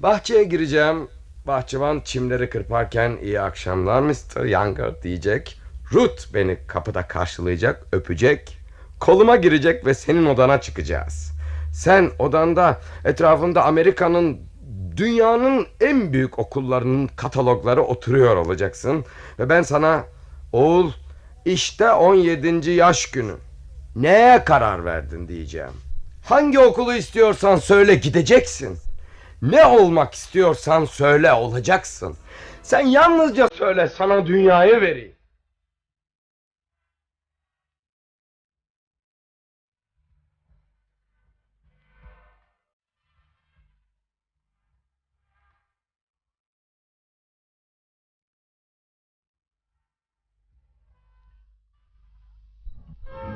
S4: Bahçeye gireceğim. Bahçıvan çimleri kırparken iyi akşamlar Mr. Younger diyecek. Ruth beni kapıda karşılayacak, öpecek. Koluma girecek ve senin odana çıkacağız. Sen odanda etrafında Amerika'nın dünyanın en büyük okullarının katalogları oturuyor olacaksın. Ve ben sana oğul işte 17. yaş günü. Neye karar verdin diyeceğim. Hangi okulu istiyorsan söyle gideceksin. Ne olmak istiyorsan söyle olacaksın. Sen yalnızca söyle sana dünyayı vereyim.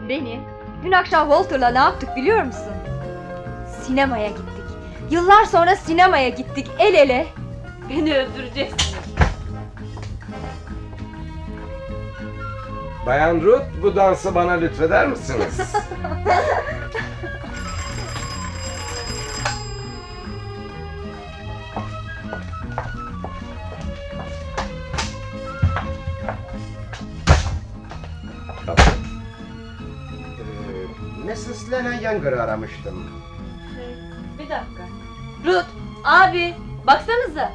S2: Beni. Dün akşam Walter'la ne yaptık biliyor musun? Sinemaya gittik. Yıllar sonra sinemaya gittik el ele.
S6: Beni öldüreceksin.
S4: Bayan Ruth bu dansı bana lütfeder
S11: [LAUGHS]
S4: misiniz?
S11: Ee,
S4: Mrs. Lena Younger'ı aramıştım.
S6: Şey, bir dakika. Ruth, abi, baksanıza.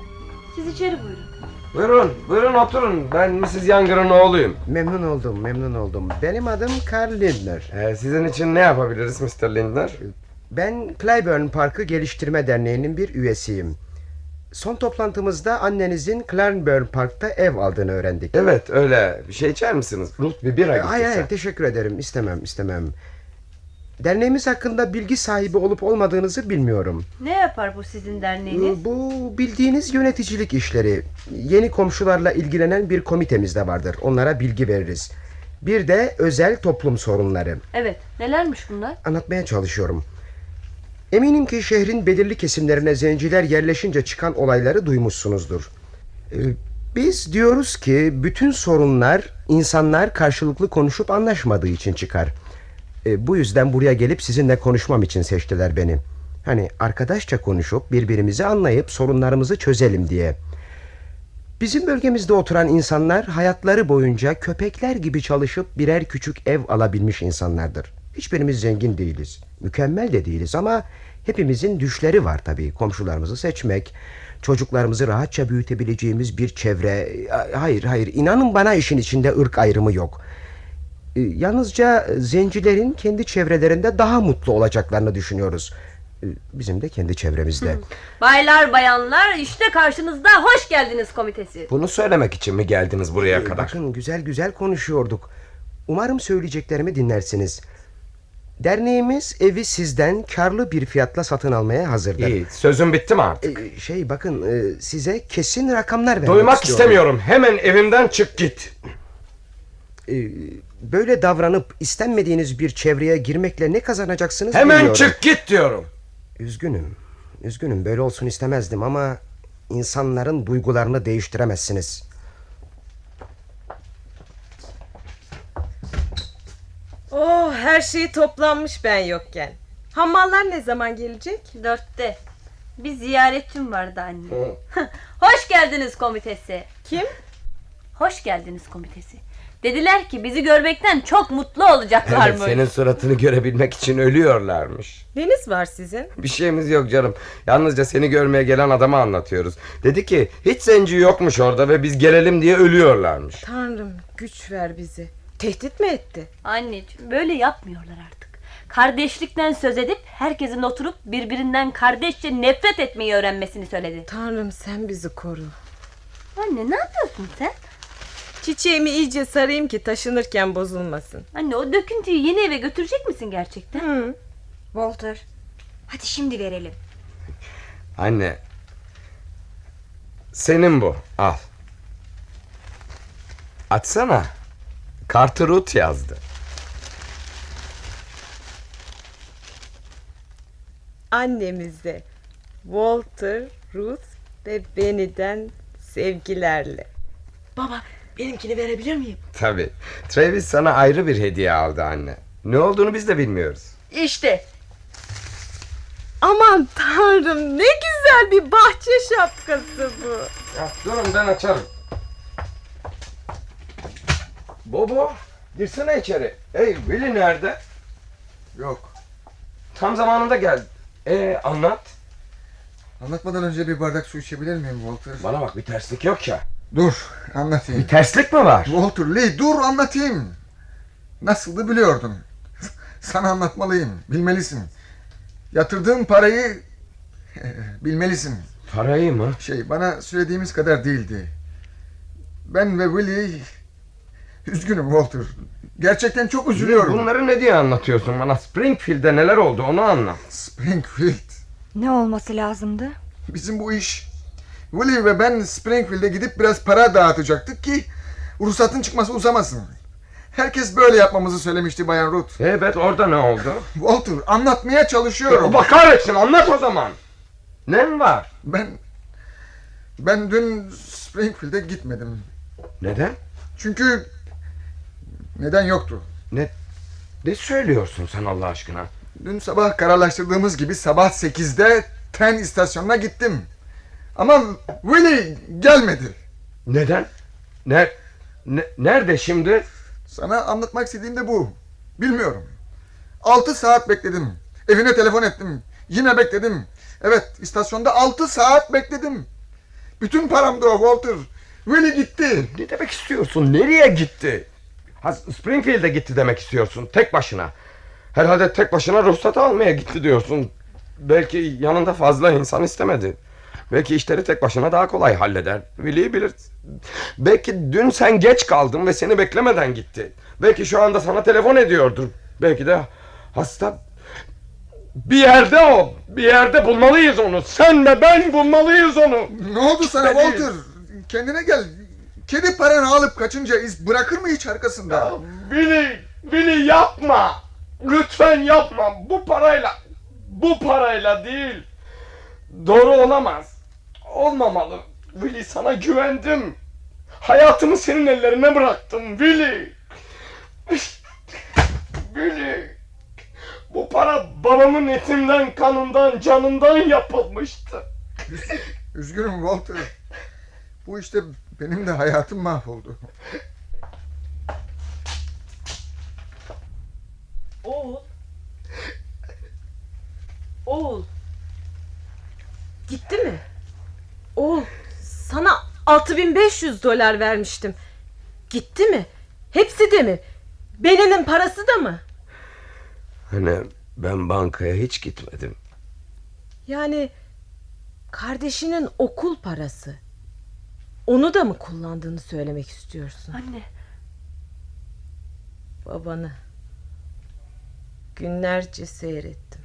S6: Siz içeri buyurun.
S4: Buyurun, buyurun oturun. Ben Mrs. Younger'ın oğluyum.
S11: Memnun oldum, memnun oldum. Benim adım Carl Lindner.
S4: Ee, sizin için ne yapabiliriz Mr. Lindner?
S11: Ben Clyburn Parkı Geliştirme Derneği'nin bir üyesiyim. Son toplantımızda annenizin Clyburn Park'ta ev aldığını öğrendik.
S4: Evet, öyle. Bir şey içer misiniz? Ruth bir bira
S11: Hayır
S4: getirsen.
S11: hayır, teşekkür ederim. İstemem, istemem. Derneğimiz hakkında bilgi sahibi olup olmadığınızı bilmiyorum.
S6: Ne yapar bu sizin derneğiniz?
S11: Ee, Bu bildiğiniz yöneticilik işleri. Yeni komşularla ilgilenen bir komitemiz de vardır. Onlara bilgi veririz. Bir de özel toplum sorunları.
S6: Evet, nelermiş bunlar?
S11: Anlatmaya çalışıyorum. Eminim ki şehrin belirli kesimlerine zenciler yerleşince çıkan olayları duymuşsunuzdur. Ee, Biz diyoruz ki bütün sorunlar insanlar karşılıklı konuşup anlaşmadığı için çıkar. Ee, Bu yüzden buraya gelip sizinle konuşmam için seçtiler beni. Hani arkadaşça konuşup birbirimizi anlayıp sorunlarımızı çözelim diye. Bizim bölgemizde oturan insanlar hayatları boyunca köpekler gibi çalışıp birer küçük ev alabilmiş insanlardır. Hiçbirimiz zengin değiliz. Mükemmel de değiliz ama hepimizin düşleri var tabii. Komşularımızı seçmek, çocuklarımızı rahatça büyütebileceğimiz bir çevre. Hayır hayır inanın bana işin içinde ırk ayrımı yok. E, Yalnızca zencilerin kendi çevrelerinde daha mutlu olacaklarını düşünüyoruz. E, Bizim de kendi çevremizde.
S6: Baylar bayanlar işte karşınızda hoş geldiniz komitesi.
S11: Bunu söylemek için mi geldiniz buraya
S4: kadar?
S11: Ee, Bakın güzel güzel konuşuyorduk. Umarım söyleyeceklerimi dinlersiniz. Derneğimiz evi sizden karlı bir fiyatla satın almaya hazırdır.
S4: İyi, sözüm bitti mi artık?
S11: Ee, şey bakın e, size kesin rakamlar vermek
S4: Duymak
S11: istiyorum.
S4: istemiyorum. Hemen evimden çık git.
S11: Ee, böyle davranıp istenmediğiniz bir çevreye girmekle ne kazanacaksınız
S4: Hemen
S11: bilmiyorum.
S4: çık git diyorum.
S11: Üzgünüm. Üzgünüm böyle olsun istemezdim ama insanların duygularını değiştiremezsiniz.
S7: Oh her şey toplanmış ben yokken. Hammallar ne zaman gelecek?
S6: Dörtte. Bir ziyaretçim vardı anne. Hoş geldiniz komitesi.
S7: Kim?
S6: Hoş geldiniz komitesi. Dediler ki bizi görmekten çok mutlu olacaklarmış.
S4: Evet, senin suratını görebilmek için ölüyorlarmış.
S7: Neniz var sizin?
S4: Bir şeyimiz yok canım. Yalnızca seni görmeye gelen adama anlatıyoruz. Dedi ki hiç zenci yokmuş orada ve biz gelelim diye ölüyorlarmış.
S7: Tanrım güç ver bizi. Tehdit mi etti?
S6: Anneciğim böyle yapmıyorlar artık. Kardeşlikten söz edip herkesin oturup birbirinden kardeşçe nefret etmeyi öğrenmesini söyledi.
S7: Tanrım sen bizi koru.
S6: Anne ne yapıyorsun sen?
S7: Çiçeğimi iyice sarayım ki taşınırken bozulmasın.
S6: Anne o döküntüyü yeni eve götürecek misin gerçekten?
S2: Walter [LAUGHS] hadi şimdi verelim.
S4: Anne. Senin bu. Al. Açsana. Carter Ruth yazdı.
S7: Annemize Walter, Ruth ve Benny'den sevgilerle.
S5: Baba benimkini verebilir miyim?
S4: Tabii. Travis sana ayrı bir hediye aldı anne. Ne olduğunu biz de bilmiyoruz.
S5: İşte.
S7: Aman tanrım ne güzel bir bahçe şapkası bu.
S4: durun ben açarım. Bobo, girsene içeri. Hey, Willy nerede? Yok. Tam zamanında geldi. Ee, anlat.
S12: Anlatmadan önce bir bardak su içebilir miyim Walter?
S4: Bana bak bir terslik yok ya.
S12: Dur anlatayım.
S4: Bir terslik mi var?
S12: Walter Lee dur anlatayım. Nasıldı biliyordum. Sana anlatmalıyım. Bilmelisin. Yatırdığım parayı bilmelisin.
S4: Parayı mı?
S12: Şey bana söylediğimiz kadar değildi. Ben ve Willie üzgünüm Walter. Gerçekten çok üzülüyorum.
S4: Bunları ne diye anlatıyorsun bana? Springfield'de neler oldu onu anlat.
S12: Springfield.
S2: Ne olması lazımdı?
S12: Bizim bu iş. Willie ve ben Springfield'e gidip biraz para dağıtacaktık ki ruhsatın çıkması uzamasın. Herkes böyle yapmamızı söylemişti Bayan Ruth.
S4: Evet orada ne oldu?
S12: Walter anlatmaya çalışıyorum.
S4: Ya bakar mısın? Anlat o zaman. Ne var?
S12: Ben ben dün Springfield'e gitmedim.
S4: Neden?
S12: Çünkü neden yoktu.
S4: Ne ne söylüyorsun sen Allah aşkına?
S12: Dün sabah kararlaştırdığımız gibi sabah 8'de tren istasyonuna gittim. Ama Willie gelmedi.
S4: Neden? Ne, ne- nerede şimdi?
S12: Sana anlatmak istediğim de bu. Bilmiyorum. 6 saat bekledim. Evine telefon ettim. Yine bekledim. Evet istasyonda 6 saat bekledim. Bütün param da o Walter. Willie gitti.
S4: Ne demek istiyorsun? Nereye gitti? Ha, Springfield'e gitti demek istiyorsun. Tek başına. Herhalde tek başına ruhsat almaya gitti diyorsun. Belki yanında fazla insan istemedi. Belki işleri tek başına daha kolay halleder. Veli'yi bilir. Belki dün sen geç kaldın ve seni beklemeden gitti. Belki şu anda sana telefon ediyordur. Belki de hasta... Bir yerde o. Bir yerde bulmalıyız onu. Sen ve ben bulmalıyız onu.
S12: Ne oldu sana Walter? Kendine gel. Kedi paranı alıp kaçınca iz bırakır mı hiç arkasında?
S4: Billy, Billy yapma. Lütfen yapma. Bu parayla Bu parayla değil. Doğru olamaz. Olmamalı. Willy sana güvendim. Hayatımı senin ellerine bıraktım Willy. Willy. Bu para babamın etinden, kanından, canından yapılmıştı.
S12: Üzgünüm Walter. Bu işte benim de hayatım mahvoldu.
S6: Oğul. Oğul.
S7: Gitti mi? Oğul sana 6500 dolar vermiştim. Gitti mi? Hepsi de mi? Beninin parası da mı?
S9: Hani ben bankaya hiç gitmedim.
S7: Yani kardeşinin okul parası. Onu da mı kullandığını söylemek istiyorsun?
S6: Anne.
S7: Babanı günlerce seyrettim.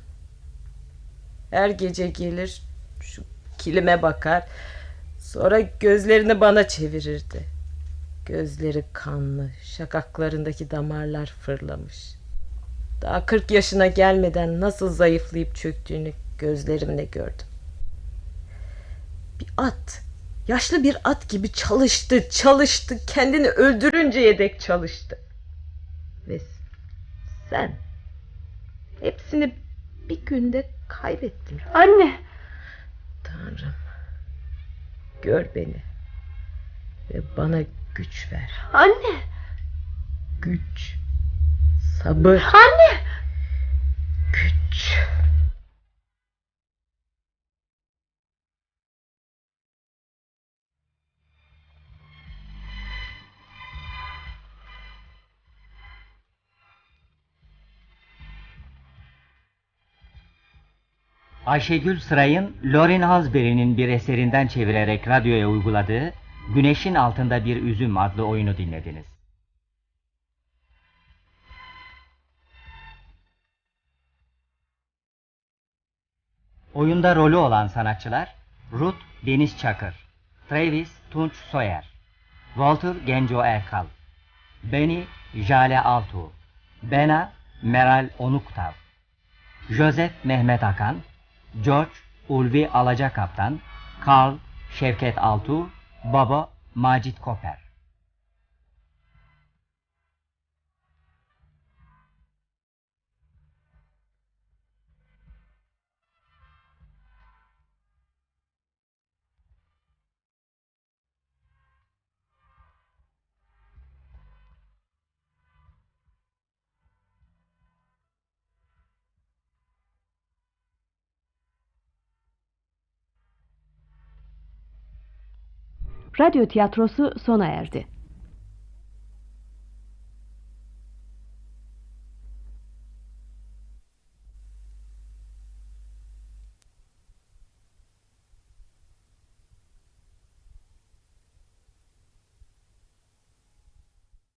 S7: Her gece gelir şu kilime bakar. Sonra gözlerini bana çevirirdi. Gözleri kanlı, şakaklarındaki damarlar fırlamış. Daha 40 yaşına gelmeden nasıl zayıflayıp çöktüğünü gözlerimle gördüm. Bir at, yaşlı bir at gibi çalıştı, çalıştı, kendini öldürünceye dek çalıştı. Ve sen hepsini bir günde kaybettin.
S6: Anne.
S7: Tanrım. Gör beni. Ve bana güç ver.
S6: Anne.
S7: Güç. Sabır.
S6: Anne.
S7: Güç.
S1: Ayşegül Sıray'ın Lorin Hasbury'nin bir eserinden çevirerek radyoya uyguladığı Güneşin Altında Bir Üzüm adlı oyunu dinlediniz. Oyunda rolü olan sanatçılar Ruth Deniz Çakır, Travis Tunç Soyer, Walter Genco Erkal, Beni Jale Altuğ, Bena Meral Onuktav, Joseph Mehmet Akan, George Ulvi Alaca Kaptan, Karl Şevket Altuğ, Baba Macit Koper.
S13: Radyo tiyatrosu sona erdi.